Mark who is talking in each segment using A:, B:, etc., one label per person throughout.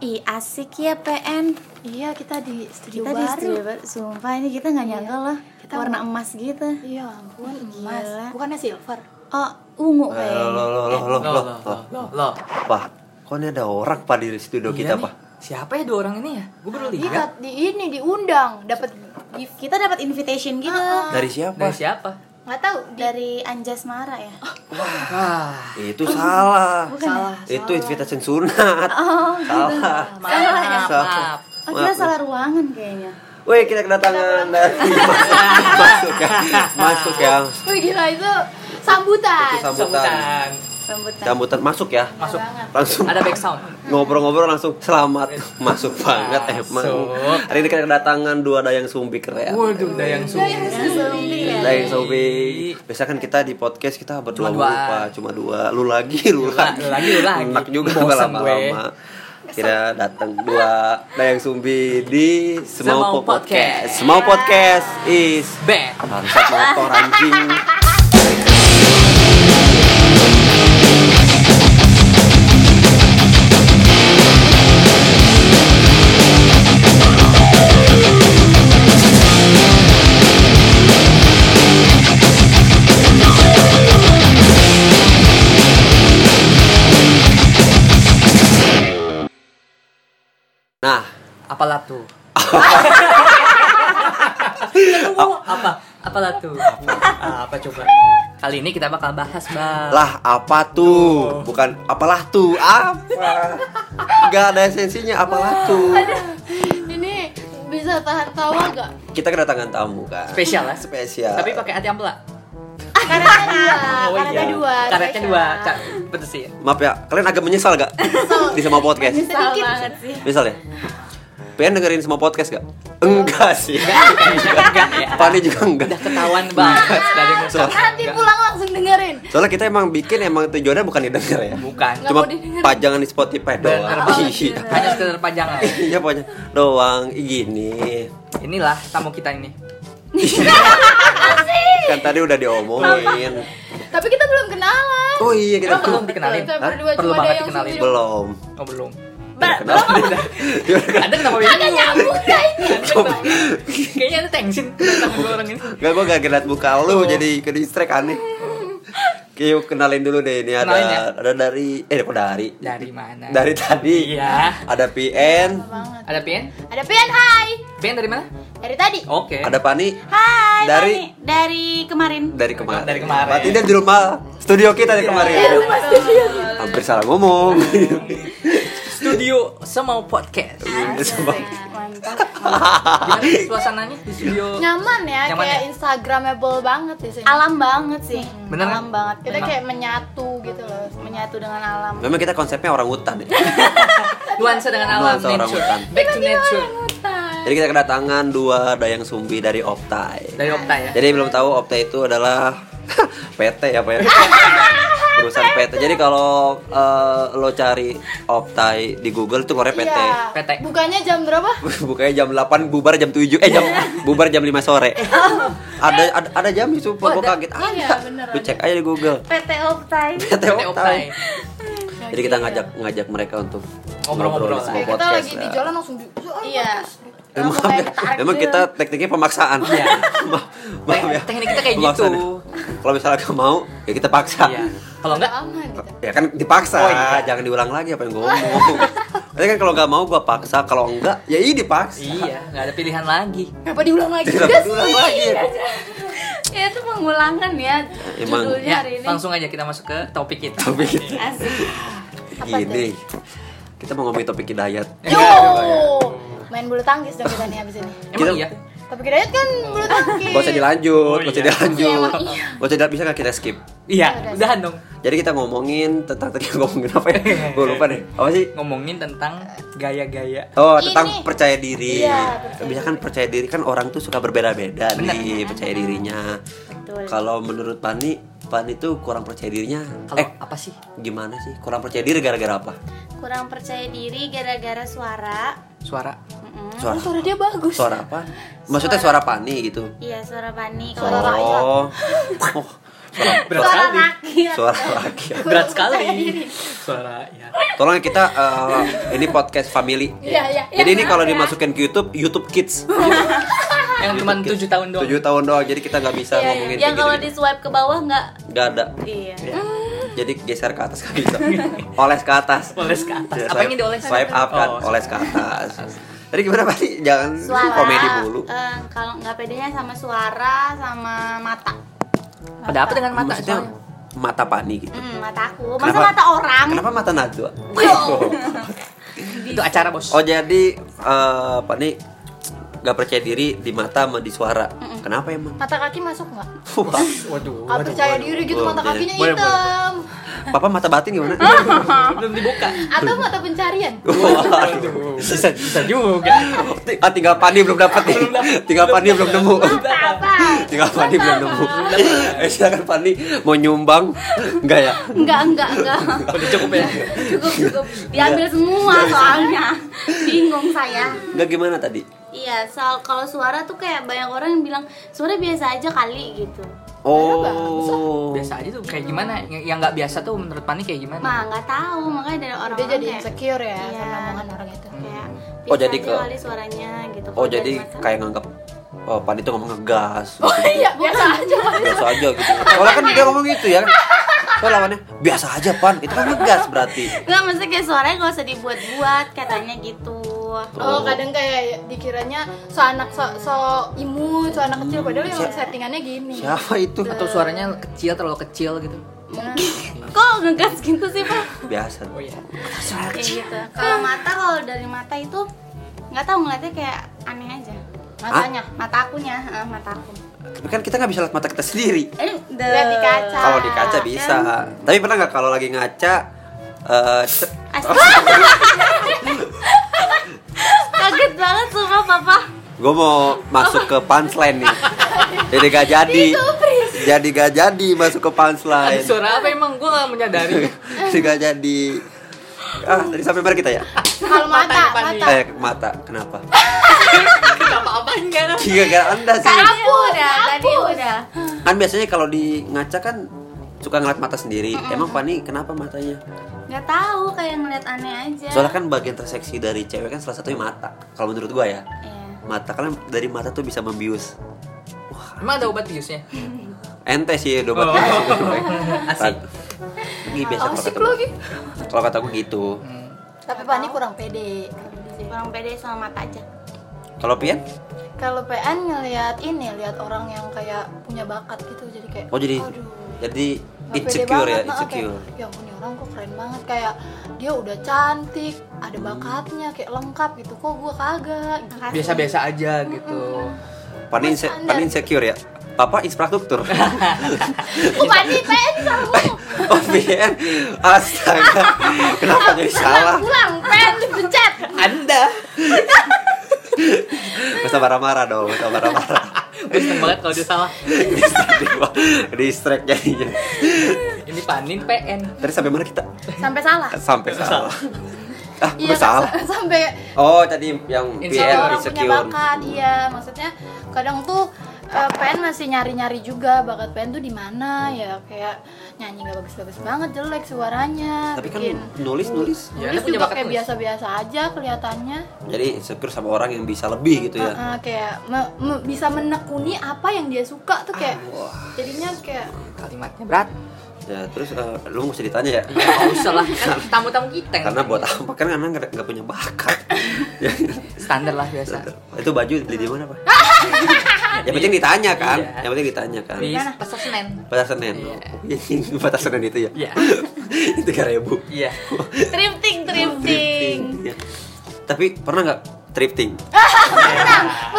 A: Ih asik ya PN
B: Iya kita di studio
A: Kita
B: baru.
A: di studio baru Sumpah ini Iya. kita nggak nyangka lah
B: Kita
A: Warna emas gitu
B: Iya ampun emas.
A: Gila.
B: Bukannya silver?
A: Oh ungu
C: Eh,
A: kayaknya
C: Loh, loh, loh, loh,
D: Loh,
C: loh,
D: loh,
C: loh.
D: loh, loh.
C: Pak, kok ini ada orang pak di studio
D: Iya
C: kita
D: nih.
C: pak?
D: Siapa ya dua orang ini ya? Gue baru
B: Iya
D: lihat.
B: di ini diundang dapat gift
A: Kita dapat invitation gitu
C: Dari siapa?
D: Dari siapa?
B: nggak tahu di
A: Dari Anjasmara ya
D: Wah,
C: Itu salah.
D: salah. Oh, iya.
C: Itu invitation sunat. Salah.
D: Maaf, maaf.
C: Salah.
A: Oh kita salah ruangan kayaknya
C: Woi kita kedatangan dari masuk ya, masuk ya,
B: Wih gila itu sambutan.
C: Itu sambutan,
D: Sambutan.
A: Sambutan
C: sambutan masuk ya,
D: Masuk.
C: langsung
D: Ada back sound.
C: ngobrol-ngobrol langsung selamat masuk banget emang.
D: Masuk.
C: Hari ini kita kedatangan dua dayang sumbi keren.
D: Waduh, Dayang Sumbi.
C: Dayang Sobi. Biasa kan kita di podcast kita berdua
D: Iya. Cuma
C: mulu,
D: dua.
C: Pak. Cuma dua. Lu lagi, lu
D: Lu
C: lagi.
D: lagi, lu lagi.
C: Enak juga
D: Bosen
C: gak lama-lama. Kira datang dua Dayang Sumbi di Semau, Po-
D: Semau
C: Podcast.
D: Podcast.
C: Semau Podcast is
D: Bang.
C: bangsat motor anjing. Nah,
D: Apalah tuh? Oh, apa? Apalah tuh? Ah, Apa? apa coba? Kali ini kita bakal bahas, Bang.
C: lah apa tuh? Bukan apalah tuh? Apa? Gak ada esensinya apalah tuh.
B: Ini bisa tahan tawa gak?
C: Kita kedatangan tamu kan.
D: Spesial lah.
C: Spesial.
D: Tapi pakai hati ampela.
B: Karetnya dua,
D: Oh,
B: karetnya
D: iya.
B: dua.
D: Karetnya
B: spesial.
D: dua. Cak, betul sih.
C: Maaf ya, kalian agak menyesal gak? di semua podcast?
B: Sedikit.
A: banget sih
C: Menyesal ya? Pengen dengerin semua podcast gak? Enggak sih
D: Enggak, enggak ya.
C: Pani juga enggak
D: Udah ketahuan
C: Iya.
D: banget dari musuh.
B: Nanti pulang langsung dengerin.
C: Soalnya kita emang bikin emang tujuannya bukan didengar ya
D: Bukan.
B: Nggak
C: Cuma
B: mau didengerin.
C: pajangan di Spotify doang
D: Bener banget.
C: Iya
D: Hanya sekedar pajangan.
C: Iya pokoknya doang Ih, gini
D: Inilah tamu kita ini.
C: Kan tadi udah diomongin
B: Tapi kita belum kenalan.
C: Oh iya kita
D: Emang belum dikenalin?
B: Kita
C: Hah?
B: berdua
D: Perlu
B: cuma ada
D: banget
B: yang
D: dikenalin.
B: sendiri.
C: Belum
D: Oh belum.
B: Ba-
C: Kenapa? Iya.
D: Ada kenapa
B: Ada nyambung gak ini?
D: Kayaknya ada tension sama dua orang ini.
C: Gak gue gak gelat muka
D: Oh.
C: lu jadi ke distrek aneh Oke yuk kenalin dulu deh ini ada
D: Kenalin ya.
C: ada dari eh kok dari
D: Dari mana?
C: dari tadi
D: Iya.
C: ada PN
B: Banget.
D: Ada Pian?
B: Ada Pian, hai.
D: Pian dari mana?
B: Dari tadi.
D: Oke.
C: ada Pani
A: Hai
C: Dari-
A: Fani. Dari kemarin
C: dari kemarin
D: Dari kemarin. Iya.
C: berarti dia di rumah studio kita dari kemarin hampir salah ngomong
D: Studio Semau Podcast.
C: Iya. Sumpah.
B: Mantap.
D: Gimana sih suasananya di
C: Iya.
D: studio?
B: Nyaman ya,
D: Nyaman
B: kayak
D: ya?
B: instagramable banget ya, di sini.
A: Alam banget sih
D: Bener.
A: Alam banget
B: Kita kayak menyatu gitu loh, menyatu dengan alam.
C: memang kita konsepnya orang hutan ya
D: Nuansa dengan alam,
C: Nuansa orang
D: nature.
C: hutan.
D: Back to nature.
C: jadi kita kedatangan dua dayang sumbi dari Optai
D: Dari Opta ya.
C: jadi belum tahu Optai itu adalah PT apa ya perusahaan PT jadi kalau eh, lo cari Optai di Google itu korea PT
B: Iya.
D: PT.
B: Bukannya jam berapa?
C: Bukanya jam 8, bubar jam 7 Eh jam bubar jam 5 sore Ada ada, ada jam itu,
D: Oh,
C: gua
D: ada.
C: kaget
B: Iya,
C: Ada,
B: bener,
C: lu
B: ada.
C: cek aja di Google
A: PT Optai
C: PT
D: PT
C: Optai.
D: Optai.
C: Jadi kita ngajak ngajak mereka untuk ngobrol
D: Ngobrol-ngobrol.
C: di sebuah
B: Kayak kita
C: podcast
B: lagi
C: lah.
B: di jalan langsung di Iya.
C: Emang, emang kita tekniknya pemaksaan.
D: Iya.
C: Ma- maaf ya.
D: Teknik kita kayak
C: Pemaksaan
D: gitu.
C: ya. Kalau misalnya kamu mau, ya kita paksa.
D: Iya. Kalau enggak
B: aman gitu.
C: Ya kan dipaksa,
D: Oh, iya.
C: jangan diulang lagi apa yang gue ngomong. Tapi kan kalau nggak mau gue paksa, kalau enggak ya ini dipaksa.
D: Iya, nggak ada pilihan lagi.
B: Kenapa diulang lagi?
C: Tidak
B: Udah
C: diulang
B: sih. Iya,
C: lagi.
D: iya.
A: Ya itu pengulangan ya
C: Emang.
A: Judulnya
D: Ya,
A: hari ini
D: langsung aja kita masuk ke topik kita.
C: Topik kita.
A: Asik
C: Gini, kita mau ngomongin topik hidayat. Iya, ya.
B: Yo. Main bulu tangkis dong kita nih abis ini.
D: Emang
C: Kita-
D: iya?
B: Tapi kira kan bulu tangkis.
C: Gak usah dilanjut,
D: Oh,
C: gak usah
D: iya.
C: dilanjut.
B: Emang iya.
C: Gak usah dilanjut, bisa nggak kita skip?
D: Iya,
B: Udah.
D: udahan dong.
C: Jadi kita ngomongin tentang tadi ngomongin apa ya? Gue lupa deh. Apa sih?
D: Ngomongin tentang gaya-gaya.
C: Oh,
B: Ini.
C: tentang percaya diri.
B: Iya, percaya
C: Bisa kan percaya diri kan orang tuh suka berbeda-beda
D: Bener.
C: nih percaya dirinya.
A: Betul.
C: Kalau menurut Pani, Pani tuh kurang percaya dirinya.
D: Kalau
C: eh,
D: apa sih?
C: gimana sih? Kurang percaya diri gara-gara apa?
A: Kurang percaya diri gara-gara suara
D: Suara.
A: Mm-mm.
C: Suara.
B: Suara dia bagus.
C: Suara apa? Maksudnya suara Pani gitu.
A: Iya suara Fani
B: Suara
A: kalau
B: rakyat.
C: oh. oh.
D: Berat
A: suara
D: sekali.
A: laki
C: suara laki
D: Berat sekali.
B: Percaya diri.
D: Suara ya.
C: Tolong kita eh, ini podcast family.
B: Iya, iya.
C: Jadi ini
A: Iya,
C: kalau
A: iya.
C: dimasukin ke YouTube, YouTube Kids.
D: Yang cuma 7 tahun doang.
C: 7 tahun doang. Jadi kita nggak bisa
A: Iya,
C: ngomongin
A: yang
C: kayak
A: kalau di
C: gitu-gitu.
A: swipe ke bawah nggak
C: Nggak ada.
A: iya
D: Ya.
C: Jadi geser ke atas nggak bisa. Oles ke atas.
D: Oles ke atas.
C: Ya,
D: Apa yang
C: swipe-
D: dioles?
C: Swipe up kan,
D: Oh, swipe
C: oles ke atas. Tadi gimana Pak? Jangan
A: suara
C: komedi mulu.
A: eh, kalau nggak pedenya sama suara sama mata
D: Ada apa dengan mata?
C: Maksudnya
D: Jon?
C: mata pani gitu.
A: Hmm, mata aku masa
C: Kenapa-
A: mata orang
C: Kenapa mata Najwa?
D: Itu acara bos.
C: Oh jadi eh Pak nih nggak percaya diri di mata sama di suara. Kenapa emang?
B: Mata kaki masuk nggak?
C: Wah,
D: Waduh.
B: Ah, percaya diri gitu
C: Boleh,
B: mata
C: boleh.
B: kakinya
D: Boleh, boleh.
B: hitam.
C: Papa mata batin gimana?
D: Belum dibuka.
B: Atau mata pencarian?
C: Waduh, bisa bisa.
D: Bisa juga.
C: Ah tinggal Pandi belum dapat nih. Tinggal Pandi belum nemu.
A: apa
C: Tinggal Pandi belum nemu. Eh silakan Pandi mau nyumbang enggak ya?
A: enggak enggak enggak
D: Udah cukup ya.
A: cukup cukup diambil semua soalnya bingung saya
C: Enggak gimana tadi?
A: iya soal kalau suara tuh kayak banyak orang yang bilang suara biasa aja kali gitu
C: Oh.
D: Biasa aja tuh kayak gimana? Yang yang nggak biasa tuh menurut Pani kayak gimana?
A: mah nggak tahu makanya dari orang
B: Dia jadi
A: kayak,
B: insecure ya
A: Iya.
B: karena omongan orang itu.
A: kayak
C: Oh,
A: oh jadi
C: jadi ke-
A: kali suaranya gitu
C: Oh
A: Kalau dari
C: jadi
A: mata-
C: kayak nganggap oh, Pandi tuh ngomong ngegas.
B: Oh iya, biasa aja.
C: biasa
D: iya.
C: aja gitu soalnya kan dia ngomong gitu ya kan soalnya lawannya biasa aja pan itu kan ngegas berarti
A: nggak maksudnya kayak suaranya gak usah dibuat-buat katanya gitu
B: Oh, kadang kayak dikiranya so anak so, so imut, so anak kecil padahal yang
C: Siap.
B: settingannya gini.
C: siapa itu
D: Atau suaranya kecil terlalu kecil gitu?
A: kok ngegas gitu sih pak
C: biasa
D: Oh iya.
A: kayak gitu kalau mata kalau dari mata itu nggak tahu ngeliatnya kayak aneh aja
B: Matanya.
C: Ah?
A: mata akunya eh, mata aku
C: tapi kan kita nggak bisa lihat mata kita sendiri
A: eh lihat di kaca
C: kalau di kaca bisa
A: Kan?
C: tapi pernah nggak kalau lagi ngaca eh, cer-
A: Astaga. kaget banget semua papa
C: gue mau masuk ke punchline nih jadi gak jadi jadi gak jadi masuk ke
D: Ada
C: punchline
D: suara apa emang? Gue nggak menyadari.
C: jadi gak jadi ah tadi sampai mana kita ya
B: Kalau mata,
D: Matanya, Fani.
B: mata.
C: eh mata kenapa
D: Kenapa apa enggak?
C: Iya gara anda sih
A: Aku udah tadi udah
C: kan biasanya kalau di ngaca kan suka ngeliat mata sendiri emang Fani kenapa matanya
A: nggak tahu kayak ngeliat aneh aja
C: soalnya kan bagian terseksi dari cewek kan salah satunya mata kalau menurut gua ya
A: Iya.
C: mata kan dari mata tuh bisa membius wah
D: Emang ada obat biusnya?
C: ente sih dobat
D: Oh. Asik.
C: ini biasa kalau
B: Asik
C: kata
B: lagi.
C: gua. kalau kata gua gitu
D: Hmm.
B: Tapi Pani kurang pede.
A: kurang pede sama mata aja
C: kalau Pian
B: Kalau PN ngelihat ini, lihat orang yang kayak punya bakat gitu jadi kayak
C: oh jadi
B: aduh.
C: jadi
B: Nggak pede
C: insecure ya
B: banget, nah,
C: insecure
B: kayak, ya ampun ini orang kok keren banget kayak dia udah cantik ada bakatnya kayak lengkap gitu kok gue kagak gitu.
A: Makasih.
D: Biasa-biasa aja gitu.
C: Fani inse-
B: Mas Anda.
C: Fani insecure ya apa infrastruktur
A: Uh,
B: Kok Pani PN salah ngomong
C: oh Pian astaga kenapa jadi salah
B: pulang PN dipecat
D: Anda.
C: Gak usah marah-marah dong, gak usah marah-marah
D: Gue seneng banget kalau dia salah.
C: Distract jadinya
D: Ini panin PN.
C: Tadi sampai mana kita?
B: sampai salah
C: Sampai salah Ah,
B: Iya,
C: bersalah
B: sa- sampai
C: Oh, tadi yang
D: Insecure.
C: PN
B: orang punya
C: insecure
B: bakat iya maksudnya kadang tuh eh, PN masih nyari-nyari juga bakat PN tuh di mana ya kayak nyanyi nggak bagus-bagus banget jelek suaranya
C: Tapi kan
B: bikin
C: nulis-nulis
D: Ya,
B: nulis
D: dia punya
B: juga
D: bakat
B: kayak
D: nulis.
B: biasa-biasa aja kelihatannya
C: Jadi insecure sama orang yang bisa lebih gitu ya
B: Heeh, kayak me- me- bisa menekuni apa yang dia suka tuh kayak
C: Ah, Wah,
B: jadinya kayak
D: Kalimatnya berat.
C: ya terus eh, lu mesti ditanya ya
D: Gak usah lah. Kan tamu-tamu kita. yang
C: Karena
D: nanya.
C: buat apa? Kan karena gak, gak punya bakat Ya.
D: Standar lah biasa.
C: Itu baju beli di mana Pak? yang penting ditanya kan
D: Iya.
C: Yang penting ditanya kan
A: Iya.
D: Di pasar Senen.
C: Batas Senen
D: Iya.
C: oh. Batas Senen itu ya?
D: Iya.
C: Tiga ribu
D: Iya.
A: Tripting, tripting.
C: Iya. Tapi pernah nggak thrifting?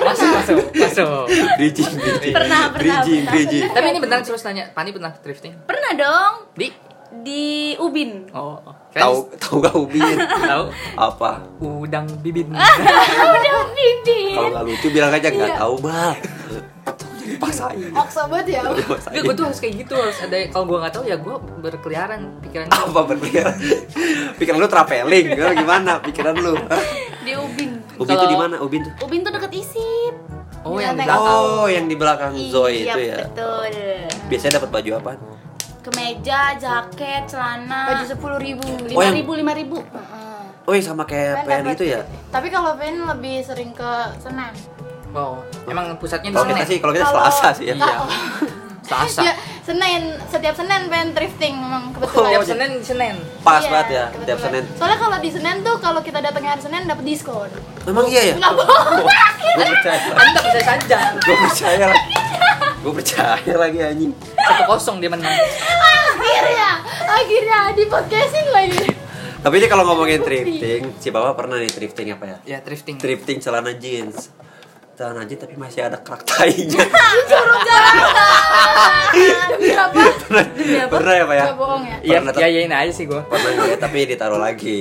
D: Masuk, masuk, masuk.
C: Bridging, bridging.
A: Pernah, pernah,
C: Bridging,
A: pernah.
C: bridging.
D: Tapi ini beneran terus nanya, Pani pernah thrifting?
A: Pernah dong
D: Di?
A: di Ubin.
D: Oh, oh.
C: Tahu tahu gak ubin?
D: Tahu?
C: Apa?
D: Udang bibin.
A: Udah Ubin.
C: Kalau nggak lucu bilang aja nggak tahu bal. Jadi paksain.
B: maksa banget ya
C: Dipaksain.
D: Gue tuh harus kayak gitu harus ada kalau gue nggak tahu ya gue berkeliaran pikiran gua.
C: Apa berpikiran? Pikiran lu traveling, lu gimana? Pikiran lu? Hah?
A: Di Ubin.
C: Ubin tuh
D: Kalau-
C: di mana? Ubin tuh?
A: Ubin tuh deket Isip.
D: Oh yang di belakang.
C: Oh, yang di belakang Zoe
A: Iya,
C: itu ya.
A: Betul.
C: Di biasanya dapat baju apa?
A: kemeja jaket celana
B: baju sepuluh ribu
A: lima
C: Oh, yang-
A: ribu lima ribu
C: Oh, iya, sama kayak
B: Pen
C: PN
B: dapat-
C: itu ya?
B: tapi kalau pen lebih sering ke Senen
D: Wow, Oh. emang pusatnya di
C: Kalau kita
D: Senen.
C: sih, kalau kita
B: Kalau-
C: Selasa sih ya.
D: Iya. Selasa.
B: Iya, Senin setiap Senin pen thrifting memang kebetulan
C: iya.
D: Tiap Senin di Senin.
C: Oh, Pas
B: Iya,
C: banget ya, tiap
B: kebetulan.
C: Senin.
B: Soalnya kalau di Senin tuh kalau kita datang hari Senin dapat diskon.
C: Emang iya ya?
B: Nggak bohong.
C: Gue percaya.
D: Anda Kan bisa saja.
C: Gue percaya lagi. Gue percaya lagi anjing.
D: Satu kosong dia menang.
B: Akhirnya, akhirnya di podcastin lagi.
C: Tapi ini kalau ngomongin thrifting, si Bapak pernah nih thrifting apa ya?
D: Ya thrifting.
C: Thrifting celana jeans. Celana jeans tapi masih ada kerak tainya.
B: Disuruh jalan. Demi
C: Iya.
B: apa? Demi apa?
C: Pernah ya, Pak ya?
B: Nggak bohong ya.
D: Iya,
C: Pernah
D: iya
C: tak-
D: iyain aja sih gua.
C: Pernah ya, tapi ditaruh lagi.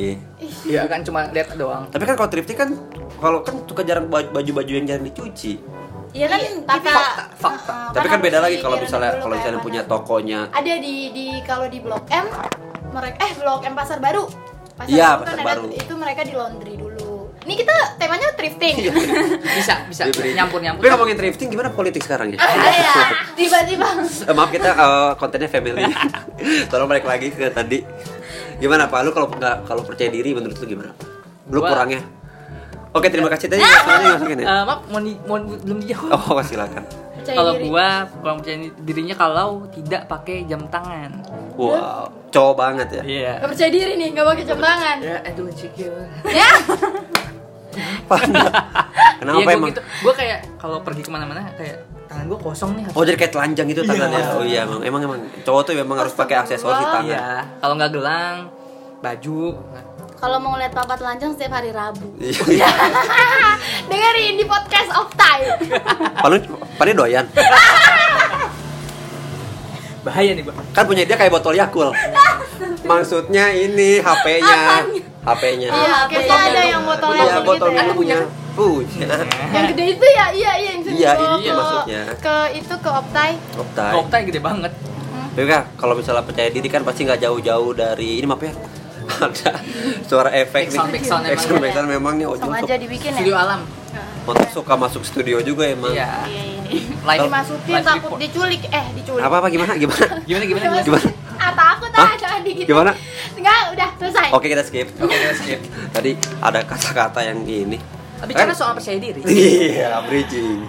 D: Iya kan cuma lihat doang.
C: Tapi kan kalau thrifting kan kalau kan suka jarang baju- baju-baju yang jarang dicuci.
A: Iya kan
B: tapi-
A: kita
D: Fakta.
B: Nah,
C: Tapi kan
B: harus
C: beda lagi kalau
B: dipikirin
C: misalnya
B: dulu
C: kalau
B: kayak
C: misalnya
B: mana.
C: punya tokonya.
B: ada di di kalau di Blok M mereka eh Blok M Pasar Baru.
C: Iya,
B: Baru kan
C: Pasar
B: ada-
C: Baru.
B: itu mereka di laundry dulu. Ini kita temanya thrifting.
C: Iya.
D: Bisa, bisa
C: diberi-
D: nyampur
C: Tapi
D: nyampur.
C: ngomongin thrifting gimana politik sekarang ya?
B: Iya. Tiba-tiba
C: Eh, maaf kita eh, kontennya family. Tolong balik lagi ke tadi. Gimana Pak? Lu kalau nggak kalau percaya diri menurut lu gimana? Lu
D: Gua-
C: kurangnya? Oke terima kasih tadi masukannya masukin ya.
D: Eh, maaf, mau, di- mau belum dijawab.
C: Oh silakan.
B: percaya
D: Kalau
B: diri.
D: gua kurang percaya dirinya kalau tidak pakai jam tangan.
C: Wow, cowok banget ya.
D: Iya.
B: Gak percaya diri nih, gak pakai jam tangan.
D: Ya, aduh insecure.
B: Ya.
C: Kenapa
D: Iya, gua
C: emang?
D: Gitu. Gua kayak kalau pergi kemana-mana kayak tangan gua kosong nih.
C: Oh jadi kayak telanjang gitu tangannya. Oh iya emang emang emang cowok tuh memang harus pakai aksesoris di tangan.
D: Iya. Kalau nggak gelang, baju.
A: kalau mau lihat papa telanjang setiap hari Rabu
C: Iya.
B: Dengerin di podcast Optai.
C: Paling paling doyan.
D: Bahaya nih gua.
C: Kan punya dia kayak botol Yakult. Maksudnya ini HP-nya. HP-nya.
B: Iya,
A: Ah,
B: kayaknya
A: botol
B: ada
A: minum.
B: yang botol
C: Botol,
B: yang
C: Iya, botol,
B: gitu ya.
C: minumnya. Punya.
B: Yang gede itu ya, iya iya yang
C: Iya,
B: dibawa
C: iya
B: ke-
C: maksudnya.
B: Ke itu ke Optai.
C: Optai.
D: Koptai gede banget.
C: Tapi kan kalau misalnya percaya diri kan pasti nggak jauh-jauh dari ini maaf ya. Ada suara efek nih.
D: Backsound, backsound emang.
C: Backsound, backsound memang nih Ojo
B: Sama
C: suka-
B: aja dibikin
D: Studio
B: ya.
D: alam.
C: Ojo suka masuk studio juga emang.
D: Iya.
A: iya iya
D: Live
B: Dimasukin
D: live
B: takut
D: report.
B: diculik, eh diculik.
C: Apa apa gimana gimana?
D: Gimana gimana? gimana?
C: Gimana?
B: Ah takut
C: Hah?
B: ah jangan dikit.
C: Gimana? Oh.
B: Enggak, udah selesai.
C: Oke kita skip.
D: Oke, kita skip.
C: Tadi ada kata-kata yang ini. Kan-
D: Bicara soal percaya diri,
C: Iya, bridging.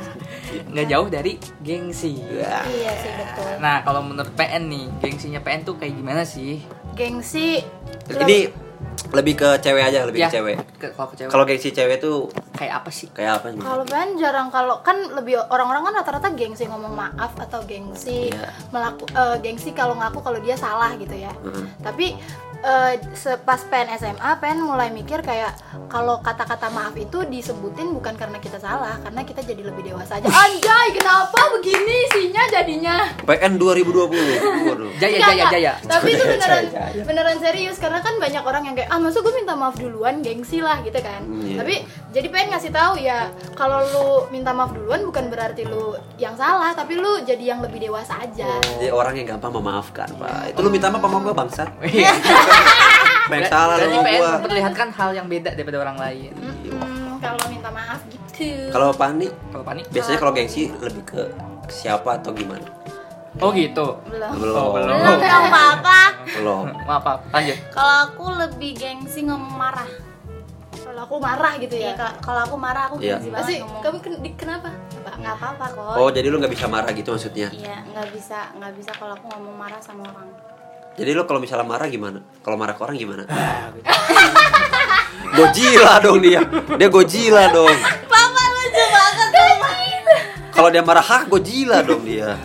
D: nggak jauh dari gengsi.
C: Ya.
B: Iya sih betul.
D: Nah, kalau menurut PN nih, gengsinya PN tuh kayak gimana sih?
B: Gengsi
C: Ini lebih ke cewek aja, lebih ke
D: Ya,
C: cewek.
D: ke- Kalau ke cewek.
C: Kalau gengsi cewek tuh
D: kayak apa sih?
C: kayak apa sih?
B: kalau Ben jarang kalau kan lebih orang-orang kan rata-rata gengsi ngomong maaf atau gengsi
C: Iya.
B: melaku eh, gengsi kalau ngaku kalau dia salah gitu ya.
C: Mm.
B: Tapi eh, sepas pen SMA pen mulai mikir kayak kalau kata-kata maaf itu disebutin bukan karena kita salah, karena kita jadi lebih dewasa aja. Anjay, kenapa begini isinya jadinya?
C: PN 2020. Waduh.
B: Enggak,
D: Jaya
C: iya,
D: jaya
B: enggak.
D: jaya.
B: Tapi itu
C: Jaya,
B: beneran
C: jaya, jaya.
B: beneran serius karena kan banyak orang yang kayak ah masa gue minta maaf duluan gengsi lah gitu kan.
C: Hmm, iya.
B: Tapi jadi pengen ngasih tahu ya kalau lu minta maaf duluan bukan berarti lu yang salah tapi lu jadi yang lebih dewasa aja.
C: Jadi orang yang gampang memaafkan, Pak. Itu lu minta maaf sama gua bangsa.
D: Iya.
C: Banyak salah lu
D: Ah, Berarti
C: sama
D: PN
C: gua.
D: memperlihatkan hal yang beda daripada orang lain.
B: Hmm.
C: iya.
B: Mm-mm, kalau minta maaf gitu.
C: Kalau Pani
D: Kalau panik.
C: biasanya kalau gengsi lebih ke siapa atau gimana?
D: Oh gitu.
B: belum.
C: Belum.
D: Oh, belum.
A: belum dong papa
C: Belum.
D: Maaf, maaf. Lanjut.
A: kalau aku lebih gengsi ngomong marah
B: Kalau aku marah gitu
A: Iya,
B: ya.
A: kalau- kalau aku marah aku
C: Iya.
A: gengsi banget
B: Pasti
A: ngomong.
B: kamu ken- di- kenapa? Apa?
A: nggak apa-apa kok
C: Oh, jadi lu nggak bisa marah gitu maksudnya.
A: iya nggak bisa nggak bisa kalau aku ngomong marah sama orang
C: Jadi lu kalau misalnya marah gimana? Kalau marah ke orang gimana? Gojila dong dia. Dia Gojila dong.
A: papa lucu banget
C: Kalau dia marah, hah Gojila dong dia.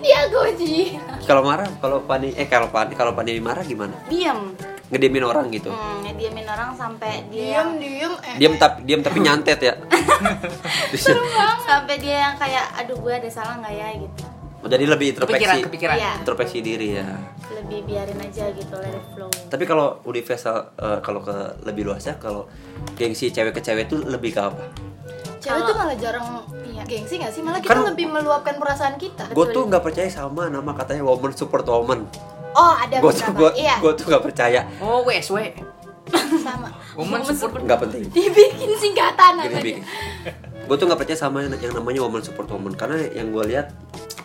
B: Dia goji.
C: Kalau marah, kalau Pani eh kalau Pani kalau Pani marah gimana?
A: diem
C: Ngedemin orang gitu.
A: hmm, ngediemin orang sampai dia
B: Diem diem eh.
C: Diam tapi diam tapi nyantet ya.
A: sampai dia yang kayak aduh gue ada salah nggak ya gitu
C: Jadi lebih
D: Kepikiran,
C: introspeksi.
D: kepikiran.
A: Iya.
C: introspeksi diri ya.
A: lebih biarin aja gitu let it flow
C: Tapi kalau universal eh, kalau ke lebih luasnya kalau gengsi cewek ke cewek tuh lebih ke apa?
B: Cewek
A: Kalau-
B: tuh malah jarang gengsi gak sih? Malah kita
C: Kan-
B: lebih meluapkan perasaan kita.
C: Gue tuh nggak percaya sama nama katanya woman support woman.
B: Oh, ada
C: Gue tuh
B: beberapa.
C: gue
B: Iya,
C: tuh nggak percaya.
D: Oh, WSW.
B: sama.
D: Woman support.
C: Nggak penting.
B: Dibikin singkatan
C: Gini
B: namanya.
C: Gue tuh nggak percaya sama yang, yang namanya woman support woman karena yang gue lihat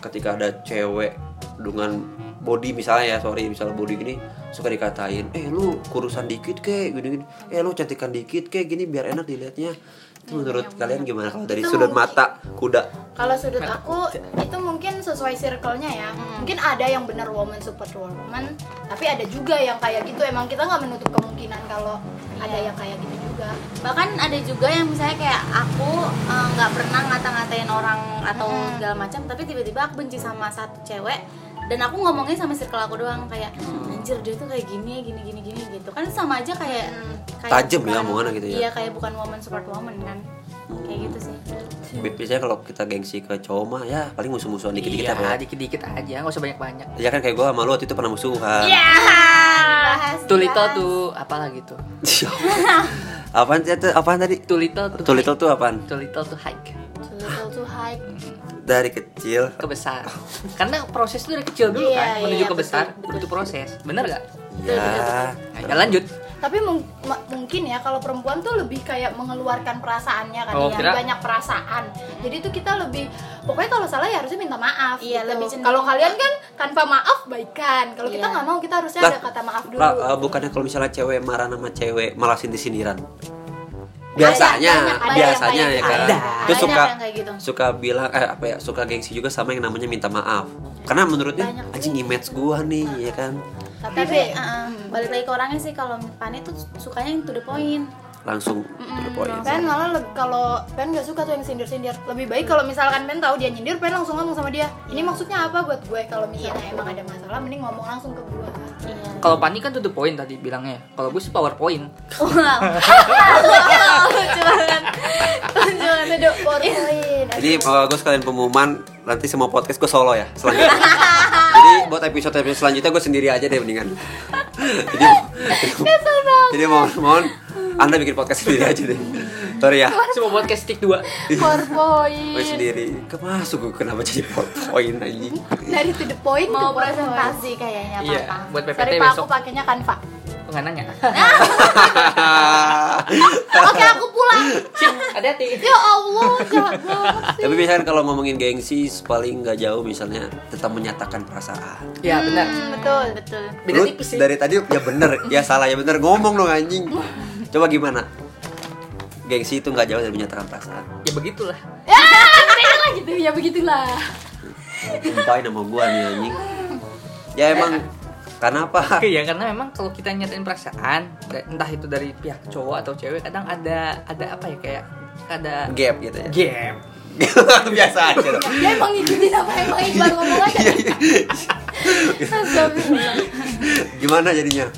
C: ketika ada cewek dengan body misalnya ya sorry misalnya body gini suka dikatain eh lu kurusan dikit kek gini gini eh lu cantikan dikit kek gini biar enak dilihatnya itu menurut kalian gimana kalau dari
B: Iya, Itu
C: sudut
B: mungkin-
C: mata kuda
B: Kalau sudut aku itu mungkin sesuai circle-nya ya.
C: Hmm.
B: Mungkin ada yang benar woman support woman, tapi ada juga yang kayak gitu. Emang kita nggak menutup kemungkinan kalau
C: Iya.
B: ada yang kayak gitu juga.
A: bahkan ada juga yang misalnya kayak aku eh, nggak pernah ngata-ngatain orang atau segala macam tapi tiba-tiba aku benci sama satu cewek dan aku ngomongnya sama circle aku doang kayak anjir dia tuh kayak gini gini gini gini gitu kan sama aja kayak, kayak
C: Tajem ya
A: bukan-
C: omongannya gitu ya.
A: iya kayak bukan woman support woman kan kayak gitu sih
C: Bi- biasanya kalau kita gengsi ke cowok mah ya paling musuh-musuhan dikit-dikit
D: iya,
C: apa ya
D: dikit-dikit aja, nggak usah banyak-banyak.
C: ya kan kayak gue sama lu waktu itu pernah
B: Iya,
C: musuhan
A: bahas
D: Tulito tuh apalah gitu.
C: apaan sih itu? apaan tadi
D: Tulito tuh.
C: tulitol tuh apaan
D: Tulito tuh hike
B: Little too high.
C: dari kecil
D: ke besar. Karena proses itu dari kecil dulu
B: Iya,
D: kan menuju
B: iya,
D: ke besar,
B: betul, betul.
D: itu proses. Bener gak?
C: ya
D: Ya lanjut.
B: Tapi mung- ma- mungkin ya kalau perempuan tuh lebih kayak mengeluarkan perasaannya kan
D: Oh,
B: ya,
D: kira-
B: banyak perasaan. Jadi tuh kita lebih pokoknya kalau salah ya harusnya minta maaf.
A: Iya,
B: gitu.
A: lebih cenderung-
B: Kalau kalian kan tanpa maaf baikan. Kalau kita
A: Iya.
B: nggak mau kita harusnya
C: Lah,
B: ada kata maaf dulu.
C: lah, eh, bukannya kalau misalnya cewek marah sama cewek malah sindir sindiran biasanya
B: banyak, banyak
C: biasanya
B: yang gitu.
C: ya kan
D: kayak- ada.
C: terus
A: Banyak
C: suka
A: yang kayak gitu.
C: suka bilang eh apa ya suka gengsi juga sama yang namanya minta maaf karena menurutnya anjing image gua nih ya kan
A: tapi, eh, balik lagi ke orangnya sih kalau Fanny tuh sukanya yang to the point
C: langsung to the point
B: Pen malah le- kalau Pen gak suka tuh yang sindir-sindir. Lebih baik kalau misalkan Pen tahu dia nyindir, Pen langsung ngomong sama dia. Ini maksudnya apa buat gue? Kalau misalnya emang ada masalah, mending ngomong langsung ke gue.
A: iya
D: Kalau Pani kan tuh the point tadi bilangnya. Kalau gue sih PowerPoint.
A: wow Iya. lucu banget
B: Jangan ada poin.
C: Jadi gue sekalian pengumuman nanti semua podcast gue solo ya selanjutnya. Jadi buat episode episode selanjutnya gue sendiri aja deh mendingan. jadi jadi mohon mohon anda bikin podcast sendiri aja deh. Sorry ya,
D: Semua podcast stick dua.
B: Four
C: gue
B: point.
C: sendiri. Kemasuk gue kenapa jadi PowerPoint anjing.
B: Dari to the point
A: mau
B: ke point.
A: presentasi kayaknya
D: Iya,
A: apa
D: buat PPT
B: Sorry Pak, aku
D: besok.
B: pakainya
A: kan,
B: Canva.
D: Nggak nanya.
B: Oke, aku pulang.
D: Sip, hati-hati.
B: Ya Allah, jahat banget.
C: Tapi misalnya kalau ngomongin gengsi paling nggak jauh misalnya tetap menyatakan perasaan.
D: Ya benar.
B: Betul, betul.
D: Beda
C: Lu
D: tipis sih.
C: dari tadi ya bener, ya salah ya bener ngomong dong anjing. Coba gimana? Gengsi itu nggak jauh dari menyatakan perasaan.
D: Ya begitulah.
B: Lah gitu, ya begitulah.
C: Sumpahin sama gua nih anjing Ya emang Kenapa?
D: Oke ya karena memang kalau kita nyatain perasaan da- entah itu dari pihak cowok atau cewek kadang ada ada apa ya kayak ada
C: Gap gitu ya
D: game.
C: Biasa aja dong
A: Ya
B: Dia emang ngikutin apa emang Iqbal ngomong
D: Iya,
B: aja. Astagfirullah.
C: Gimana jadinya?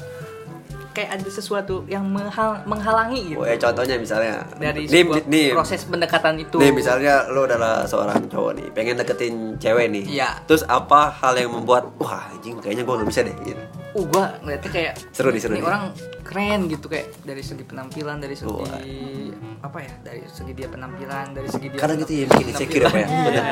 D: Kayak ada sesuatu yang menghal- menghalangi gitu.
C: Oh, eh, contohnya misalnya
D: dari
C: nih,
D: sebuah
C: nih,
D: proses pendekatan itu.
C: nih misalnya lo adalah seorang cowok nih Pengen deketin cewek nih
D: Iya.
C: Terus apa hal yang membuat Wah anjing kayaknya gua gak bisa deh gitu.
D: uh gua ngeliatnya kayak
C: Seru nih, seru
D: ini
C: nih.
D: orang keren gitu kayak dari segi penampilan dari segi
C: Wah.
D: apa ya dari segi dia penampilan dari segi dia
C: Kadang gitu ya, bikin insecure apa ya?
D: Iya.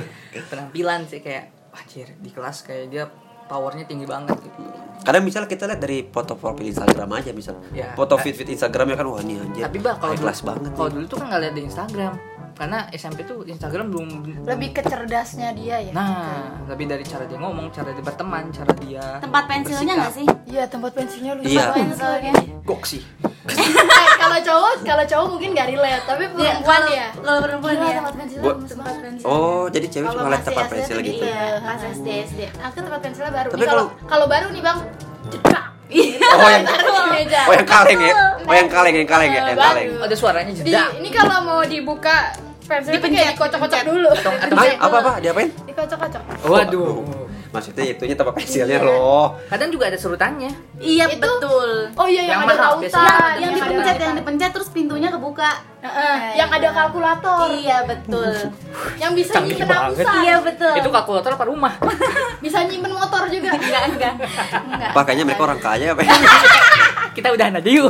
D: penampilan sih kayak wajir di kelas kayak dia powernya tinggi banget gitu
C: Kadang misalnya kita lihat dari foto profil Instagram aja misal
D: Iya.
C: Foto feed-feed Instagram ya kan Wah ini anjir
D: tapi bah kalau
C: high
D: dulu-
C: class banget
D: kalau
C: nih.
D: dulu tuh kan nggak lihat di Instagram karena SMP tuh Instagram belum
B: Lebih ke cerdasnya dia ya.
D: nah lebih dari cara dia ngomong cara dia berteman cara dia
A: tempat pensilnya nggak sih
B: Iya, tempat pensilnya lucu
C: Iya.
B: banget.
A: pensilnya
D: gok sih
B: Eh, kalau cowok, kalau cowok mungkin gak relate, tapi
A: Dia-
B: perempuan ya.
A: kalau Iya, perempuan
B: Gila,
A: ya
B: tempat pensilnya
C: Gua-
B: lemes banget.
C: Oh jadi cewek
B: Kalau
C: cuma lihat
B: masih
C: tempat
B: SD
C: pensil
B: tuh
C: gitu
B: gitu.
A: iya pas SD SD
B: Aku tempat pensilnya baru.
C: Tapi
B: Ini kalau
C: kalau-
B: kalau baru nih, Bang. Jedak.
C: Oh yang
B: Taruh di meja.
C: Oh yang kaleng ya? Oh yang kaleng, yang kaleng ya? Yang
B: Baru.
C: kaleng
D: ada suaranya
B: Di,
D: jeda
B: ini kalau mau dibuka pensilnya tuh kayak dikocok-kocok dulu.
C: Hah? Apa apa? Diapain?
B: Dikocok-kocok.
D: waduh
C: Maksudnya itunya tempat pensilnya
D: Iya.
C: loh
D: kadang juga ada surutannya
A: iya
B: Itu-
A: betul Iya,
B: Oh iya yang,
D: Yang
B: ada
D: mahal
B: rautan,
D: biasanya.
A: yang,
D: Yang
A: yang
D: ada-
A: dipencet yang dipencet terus pintunya kebuka
B: Heeh, yang ada kalkulator,
A: iya betul
B: yang bisa
D: Canggih
B: nyimpen
D: banget.
B: habisan,
A: iya betul
D: itu kalkulator apa rumah
B: bisa nyimpen motor juga.
A: enggak enggak enggak
C: Wah kayaknya mereka orang kaya apa ya?
D: kita udah nadiu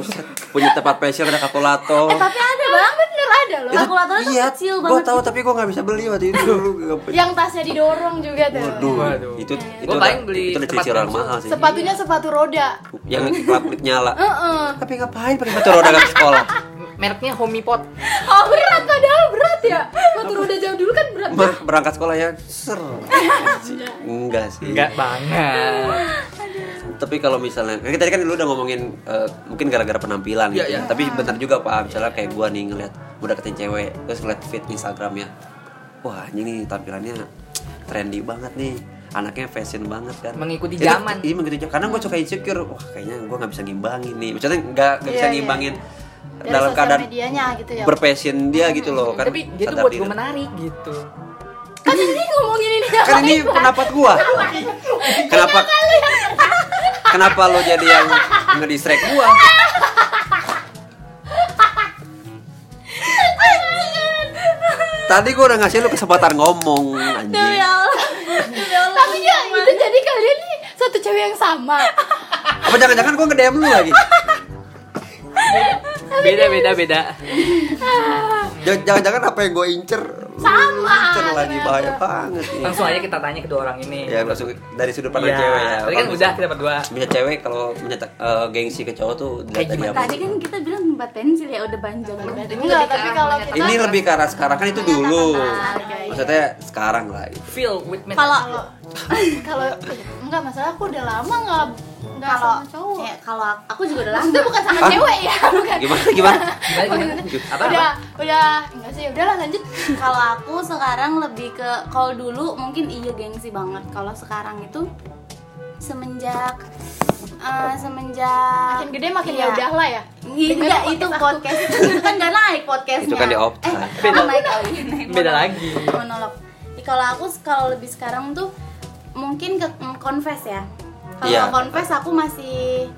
C: Punya tempat pensil ada kalkulator
D: Eh,
B: Tapi ada bang, bener ada
C: Iya.
B: loh.
A: Itu- kalkulatornya tuh kecil
C: Gue
A: banget
C: tau tapi gue gak bisa beli waktu itu dulu Gak punya.
B: Yang tasnya didorong juga tuh.
C: Waduh
D: Waduh.
C: Itu itu
D: Gua
C: udah,
D: paling beli
C: itu udah
D: tempat
C: cici orang
D: pensil.
C: mahal sih
B: Sepatunya sepatu roda.
C: Yang klaklit nyala
B: Heeh.
C: Tapi ngapain pakai motor roda ke sekolah?
D: mereknya Homipot
B: Oh berat padahal berat ya. motor udah jauh dulu kan berat
C: Mah berangkat sekolah ya ser. Enggak sih.
D: Enggak banget.
C: Tapi kalau misalnya kan tadi kan lu udah ngomongin eh, mungkin gara-gara penampilan
D: Iya,
C: gitu.
D: iya.
C: ya. Tapi benar juga Pak, misalnya kayak gua nih ngeliat gua deketin cewek terus ngeliat feed Instagramnya. Wah, ini nih tampilannya trendy banget nih. Anaknya fashion banget kan.
D: Mengikuti
C: Itu-
D: zaman.
C: Iya, mengikuti zaman. Karena gua suka insecure. Wah, kayaknya gua nggak bisa ngimbangin nih. Maksudnya nggak nggak
B: Iya,
C: bisa
B: iya.
C: ngimbangin
B: Dari
C: dalam
B: sosial
C: keadaan
B: medianya gitu ya.
C: berpassion dia gitu loh kan.
D: Tapi dia tuh
C: sadar
D: buat
C: diri.
D: gue menarik gitu.
B: kan ini ngomongin ini
C: kan ini pendapat gua kenapa kenapa lo jadi yang ngedistract gua tadi gua udah ngasih lu kesempatan ngomong anjing
B: tapi ya itu jadi kalian nih satu cewek yang sama
C: apa jangan-jangan gua ngedem lu lagi
D: Beda beda beda.
C: Jangan- jangan-jangan apa yang gua incer lu
B: Sama,
C: incer lagi
B: ternyata.
C: bahaya banget nih
D: Langsung aja kita tanya kedua orang ini.
C: ya langsung dari sudut pandang
D: Iya,
C: cewek ya
D: Tadi kan
C: Kalau
D: udah kita berdua.
C: bisa cewek kalau menyetak eh, gengsi ke cowok tuh dilihat
D: Kayak
C: dari
D: gimana?
C: apa?
A: Tadi kan kita bilang tempat pensil ya udah
D: Iya,
A: banjir banget.
B: enggak tapi kalau kita
C: ini lebih ke arah sekarang kan itu dulu
B: iya.
C: maksudnya sekarang lah gitu.
D: Feel with me.
A: Kalau
B: kalau kalau enggak masalah aku udah lama enggak enggak
A: kalau
B: sama cowok
D: Iya.
A: ya, kalau aku juga udah lama.
B: Maksudnya bukan sama
C: Hah?
B: cewek ya, bukan.
C: gimana gimana
D: Gimana, gimana? Gitu. Apa?
B: Udah, udah, enggak sih, udahlah lanjut.
A: kalau aku sekarang lebih ke kalau dulu mungkin iya gengsi banget kalau sekarang itu semenjak eh, semenjak
B: Makin gede makin
A: Iya.
B: ya udahlah ya.
A: enggak
B: Dengerin
A: itu
B: podcast
A: podcast itu kan gak naik podcastnya
C: Itu kan di off.
A: eh,
D: Beda.
A: oh, naik kali naik
D: Beda
A: monolog.
D: lagi.
A: monolog Ya, kalau aku kalau lebih sekarang tuh mungkin ke mm, confess ya kalau
C: Iya.
A: confess aku masih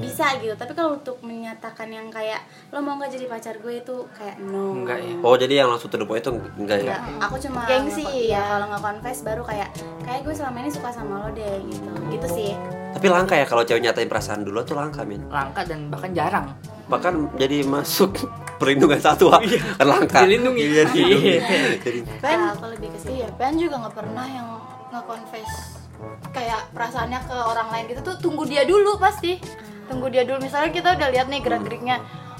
A: bisa gitu tapi kalau untuk menyatakan yang kayak lo mau nggak jadi pacar gue itu kayak no
D: Enggak ya.
C: oh jadi yang langsung to the point itu enggak ya
A: Enggak, Nah, aku cuma
B: Iya. Gengsi,
A: nge-
B: ya.
A: ya kalau nggak confess baru kayak kayak gue selama ini suka sama lo deh gitu gitu sih
C: tapi langka ya kalau cewek nyatain perasaan dulu tuh langka min
D: Langka dan bahkan jarang.
C: bahkan jadi masuk perlindungan satwa kan langka
D: Dilindungi.
C: Iya, dilindungi. jadi
A: Kalau
B: Ben,
A: Nah, aku lebih ke situ.
B: iya, Ben juga nggak pernah yang nge-confess kayak perasaannya ke orang lain gitu tuh tunggu dia dulu pasti. Tunggu dia dulu. Misalnya kita udah lihat nih gerak-geriknya.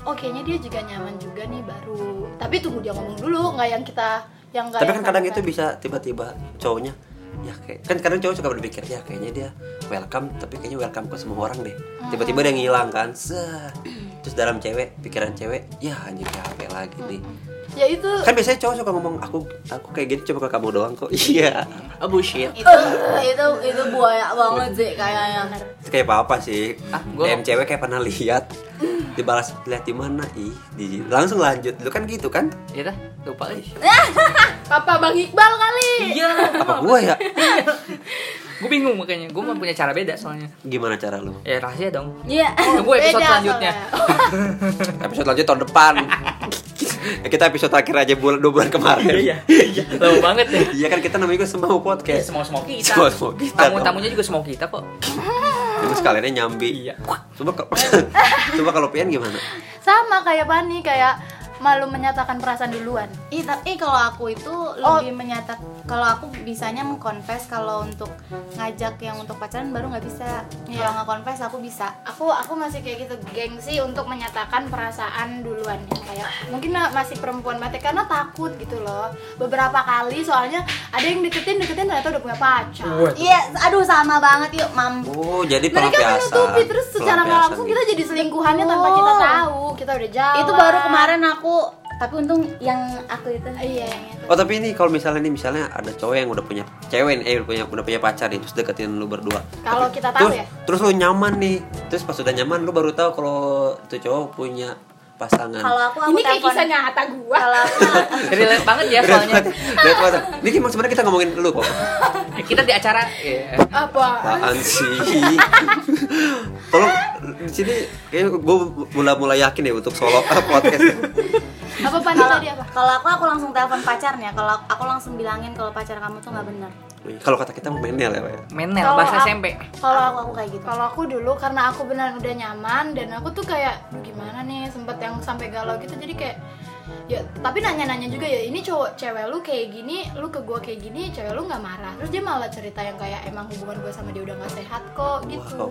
B: Oh, kayaknya dia juga nyaman juga nih baru. Tapi tunggu dia ngomong dulu, nggak yang kita yang nggak
C: tapi
B: yang
C: kan kadang itu
B: confess.
C: bisa tiba-tiba cowoknya ya kayak kan kadang cowok suka berpikir ya kayaknya dia welcome tapi kayaknya welcome ke semua orang deh tiba-tiba dia ngilang kan Set. terus dalam cewek pikiran cewek ya anjing capek lagi nih
B: ya itu
C: kan biasanya cowok suka ngomong aku aku kayak gini cuma ke kamu doang kok iya
D: Oh bullshit.
A: itu itu itu buaya banget sih kayaknya
C: itu kayak apa apa sih
D: Ah, gua-
C: DM cewek kayak pernah lihat dibalas lihat di mana ih di langsung lanjut lu kan gitu kan
D: Iya dah, lupa lagi.
B: Papa Bang Iqbal kali.
D: Iya.
C: apa gua ya
D: Gue bingung makanya. Gue mau punya cara beda soalnya.
C: gimana cara lu
D: Ya rahasia dong.
A: iya
D: Tunggu episode
B: Beda
D: selanjutnya.
B: soalnya.
C: episode lanjut tahun depan Ya, kita episode terakhir aja bulan dua bulan kemarin
D: Iya. Iya. Lama banget ya.
C: Iya kan kita namanya juga semau
D: Ya,
C: podcast
B: Iya.
D: semua semua kita.
C: Semua- semua kita dong.
D: Tamu-tamunya juga semua kita kok.
C: terus kaliannya nyambi
D: Iya.
C: coba kalau coba kalau pian gimana
B: sama kayak Pani kayak malu menyatakan perasaan duluan
A: Ih, tapi kalau aku itu
B: Oh.
A: lebih menyatak kalau aku bisanya mengkonfes kalau untuk ngajak yang untuk pacaran baru nggak bisa.
B: Iya.
A: Kalau nggak konfes aku bisa.
B: aku aku masih kayak gitu gengsi untuk menyatakan perasaan duluan kayak mungkin na- masih perempuan banget ya, karena takut gitu loh beberapa kali soalnya ada yang deketin deketin ternyata udah punya pacar
A: Iya, aduh sama banget yuk, mam.
C: oh jadi
B: mereka
C: pelampiasan
B: menutupi terus secara nggak langsung
C: gitu.
B: kita jadi selingkuhannya tanpa kita
A: Betul.
B: tahu kita udah jalan
A: Itu baru kemarin aku, tapi untung yang aku itu.
B: iya yang itu.
C: Oh tapi ini kalau misalnya nih misalnya ada cowok yang udah punya cewek nih, eh udah punya udah punya pacar nih terus deketin lu berdua.
B: Kalau
C: Tapi-
B: kita tahu
C: terus,
B: ya?
C: Terus lu nyaman nih. Terus pas udah nyaman lu baru tahu kalau itu cowok punya pasangan.
A: Kalau aku aku
B: ini kayak
A: telepon.
B: kisah nyata gua
A: Kalau aku
D: Relate banget ya
C: Berat
D: soalnya.
C: banget. Berat banget. Ini emang sebenarnya kita ngomongin lu kok.
D: Kita di acara. Iya.
B: apa
C: Apaan sih? Tolong di sini kayaknya gue mulai-mulai yakin ya untuk solo podcast.
B: apa Pani
A: kalau
B: tadi apa
A: kalau aku aku langsung telepon pacarnya. Kalau aku- aku langsung bilangin kalau pacar kamu tuh nggak benar.
C: Kalau kata kita menel ya, Pak ya.
D: Menel
B: Kalau
D: bahasa
B: aku-
D: SMP.
A: Kalau aku aku kayak gitu.
B: Kalau aku dulu karena aku benar udah nyaman dan aku tuh kayak "Duh, gimana nih sempet yang sampai galau gitu jadi kayak ya tapi nanya-nanya juga ya ini cowok cewek lu kayak gini lu ke gua kayak gini cewek lu nggak marah terus dia malah cerita yang kayak emang hubungan gua sama dia udah nggak sehat kok gitu
C: Wow.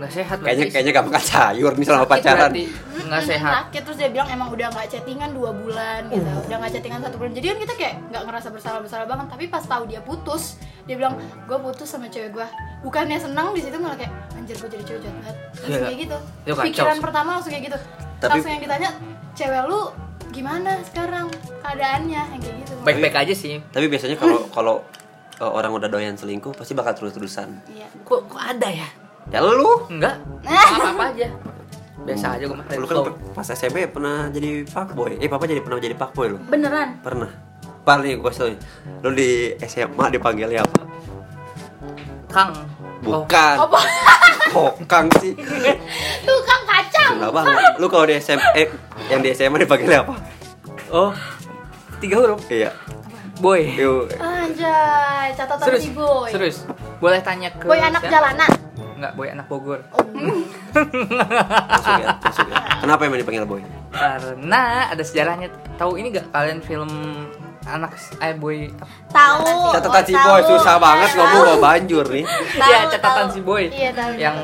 D: nggak sehat berarti.
C: kayaknya kayaknya gak makan sayur misalnya sama
D: Sakit
C: pacaran
D: berarti.
B: Mm-mm,
D: nggak
B: Hmm,
D: sehat Oh.
B: sakit terus dia bilang emang udah nggak chattingan dua bulan gitu udah nggak chattingan satu bulan jadi kan kita kayak nggak ngerasa bersalah bersalah banget tapi pas tahu dia putus dia bilang gue putus sama cewek gue bukannya senang di situ malah kayak anjir gue jadi cewek jahat banget langsung
D: Iya.
B: kayak gitu
D: Iya, kacau
B: pikiran
D: sih.
B: pertama langsung kayak gitu
C: Tapi-
B: langsung yang ditanya cewek lu gimana sekarang keadaannya yang kayak gitu
D: baik-baik aja sih
C: tapi biasanya kalau kalau eh, orang udah doyan selingkuh pasti bakal terus terusan
B: iya Nah,
D: kok kok ada ya
C: ya lu
D: enggak apa-apa aja biasa aja gue mah
C: lu kan per- pas SMP pernah jadi fuckboy eh papa jadi pernah jadi fuckboy lu
A: beneran
C: pernah paling gue selalu lu di SMA dipanggilnya ya apa
D: kang Oh,
C: bukan
B: apa
C: kokang sih
B: tukang kacang
C: kenapa lu kalau di SMA eh, yang di SMA dipanggilnya ya apa
D: oh tiga huruf
C: iya
D: boy
C: Yo,
B: anjay catatan
D: serius
B: si boy
D: serius Ya? boleh tanya ke
B: boy anak
D: siapa?
B: jalanan
D: Enggak, boy anak Bogor
C: masuk ya, masuk ya. Kenapa emang dipanggil boy?
D: karena ada sejarahnya tahu ini gak kalian film anak eh boy
A: tahu oh,
C: Catatan si boy
A: tahu.
C: susah banget ngomong bawa banjur nih.
A: Tahu,
D: ya catatan
A: tahu.
D: si boy
B: Iya, tahu,
D: yang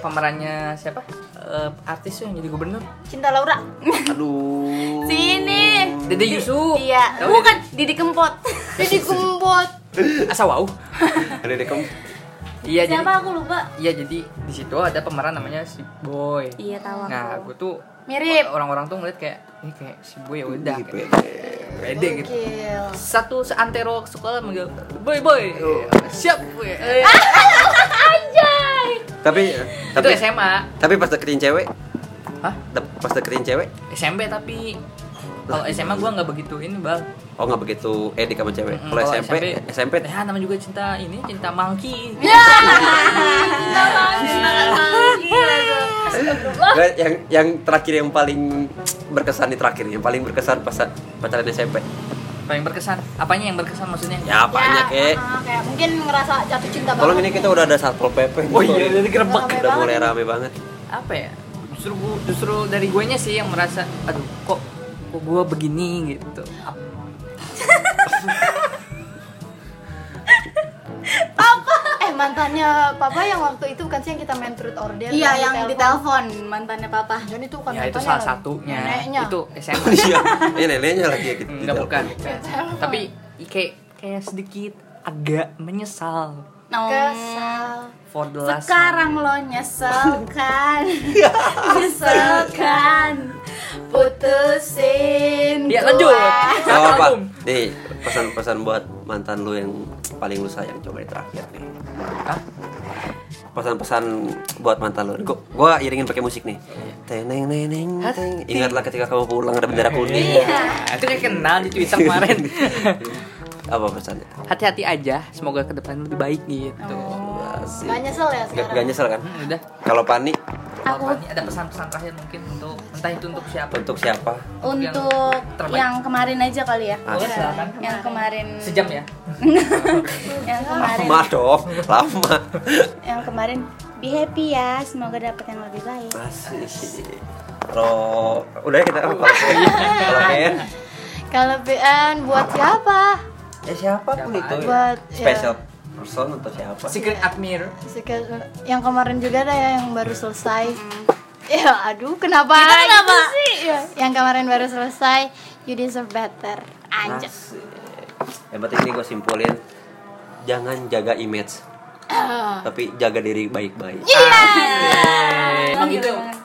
D: pemerannya siapa Eh, artis tuh yang jadi gubernur
B: cinta Laura
C: Aduh.
A: sini
D: Dede Yusuf
A: iya
D: Tahu
A: bukan Didi Kempot
B: jadi gembot
D: Dede? asa wow
C: Ada deh kamu.
D: iya jadi
A: siapa aku lupa
D: iya jadi di situ ada pemeran namanya si boy
A: iya tahu aku
D: nah gue tuh
B: Mirip.
D: orang-orang tuh ngeliat kayak ini kayak si boy ya udah
C: Ih,
D: kayak
C: pede.
D: pede gitu
B: Gokil.
D: satu seantero sekolah manggil boy boy
C: Iya.
D: siap boy
A: Ah.
D: Eh,
C: Tapi
D: itu
C: tapi
D: SMA
C: tapi pas deketin cewek,
D: Hah?
C: de- pas deketin cewek,
D: SMP tapi kalau
C: iya.
D: SMA gua nggak begitu ini bang
C: oh nggak begitu edik sama cewek.
D: Mm,
C: Kalau SMP, SMP
D: ya namanya juga cinta ini cinta monkey
A: Ya.
C: Nggak, yang yang terakhir yang paling berkesan di terakhir, yang paling berkesan pas pacaran SMP.
D: paling berkesan apanya yang berkesan maksudnya
C: Ya apanya kek?
B: ah, kayak mungkin ngerasa jatuh cinta
C: Tolong
B: banget.
C: ini kita udah ada satpol pp.
D: Oh iya, jadi
B: gerebek.
C: Udah mulai rame banget.
D: apa ya justru gua- justru dari gue nya sih yang merasa aduh kok kok gue begini gitu Ap-
B: eh mantannya papa yang waktu itu bukan sih yang kita main truth or dare
A: iya
B: kan,
A: yang
B: ditelepon.
A: ditelepon mantannya papa
B: dan itu bukan
D: ya itu
B: mantannya
D: salah
B: lagi.
D: satunya
B: neneknya
D: itu
C: Oh,
D: SMA
C: iya, ini neneknya lagi ya gitu.
D: Hmm, nggak bukan
A: Iya,
B: Kayak telepon.
D: tapi kayak kayak sedikit agak menyesal
A: no.
B: kesal
D: for the last
A: sekarang lo nyesel kan nyesel kan putusin
D: Ya,
A: gua.
D: lanjut.
C: Gak apa-apa.
D: Album.
C: Nih, pesan-pesan buat mantan lu yang paling lu sayang coba di terakhir nih.
D: Hah?
C: Pesan-pesan buat mantan lu. Gua, gua iringin pakai musik nih.
D: Iya.
C: Teneng neneng teng. Ingatlah ketika kamu pulang ada bendera kuning.
D: Nah, itu kayak kenal di Twitter kemarin.
C: Apa pesannya?
D: Hati-hati aja, semoga ke depan lebih baik gitu.
C: Asik.
B: gak nyesel ya
C: Gak,
B: sekarang
C: gak nyesel kan?
D: Hmm, udah.
C: Kalau Pani
A: Aku.
D: Apa nih, ada pesan-pesan terakhir mungkin untuk entah itu untuk siapa.
C: untuk siapa?
A: untuk
D: terbaik.
A: yang kemarin aja kali ya
C: Ah.
D: Boleh silakan.
A: yang kemarin
D: Sejam ya.
A: yang kemarin
C: Lama dong, lama.
A: yang kemarin be happy ya semoga dapet yang lebih baik
C: Asik. Kalau udah ya kita kalau
B: Iya.
C: kalau Ken,
B: kalau BN buat siapa
D: Eh,
C: ya siapapun itu. ya.
B: Buat, ya.
C: Special person atau siapa?
D: Secret admirer.
B: Suka- yang kemarin juga ada ya yang baru selesai ya aduh kenapa gitu sih? Ya, yang kemarin baru selesai you deserve better anjir
C: Asik. Yang penting ini gue simpulin Jangan jaga image Tapi jaga diri baik-baik
A: Iya,
D: Emang gitu.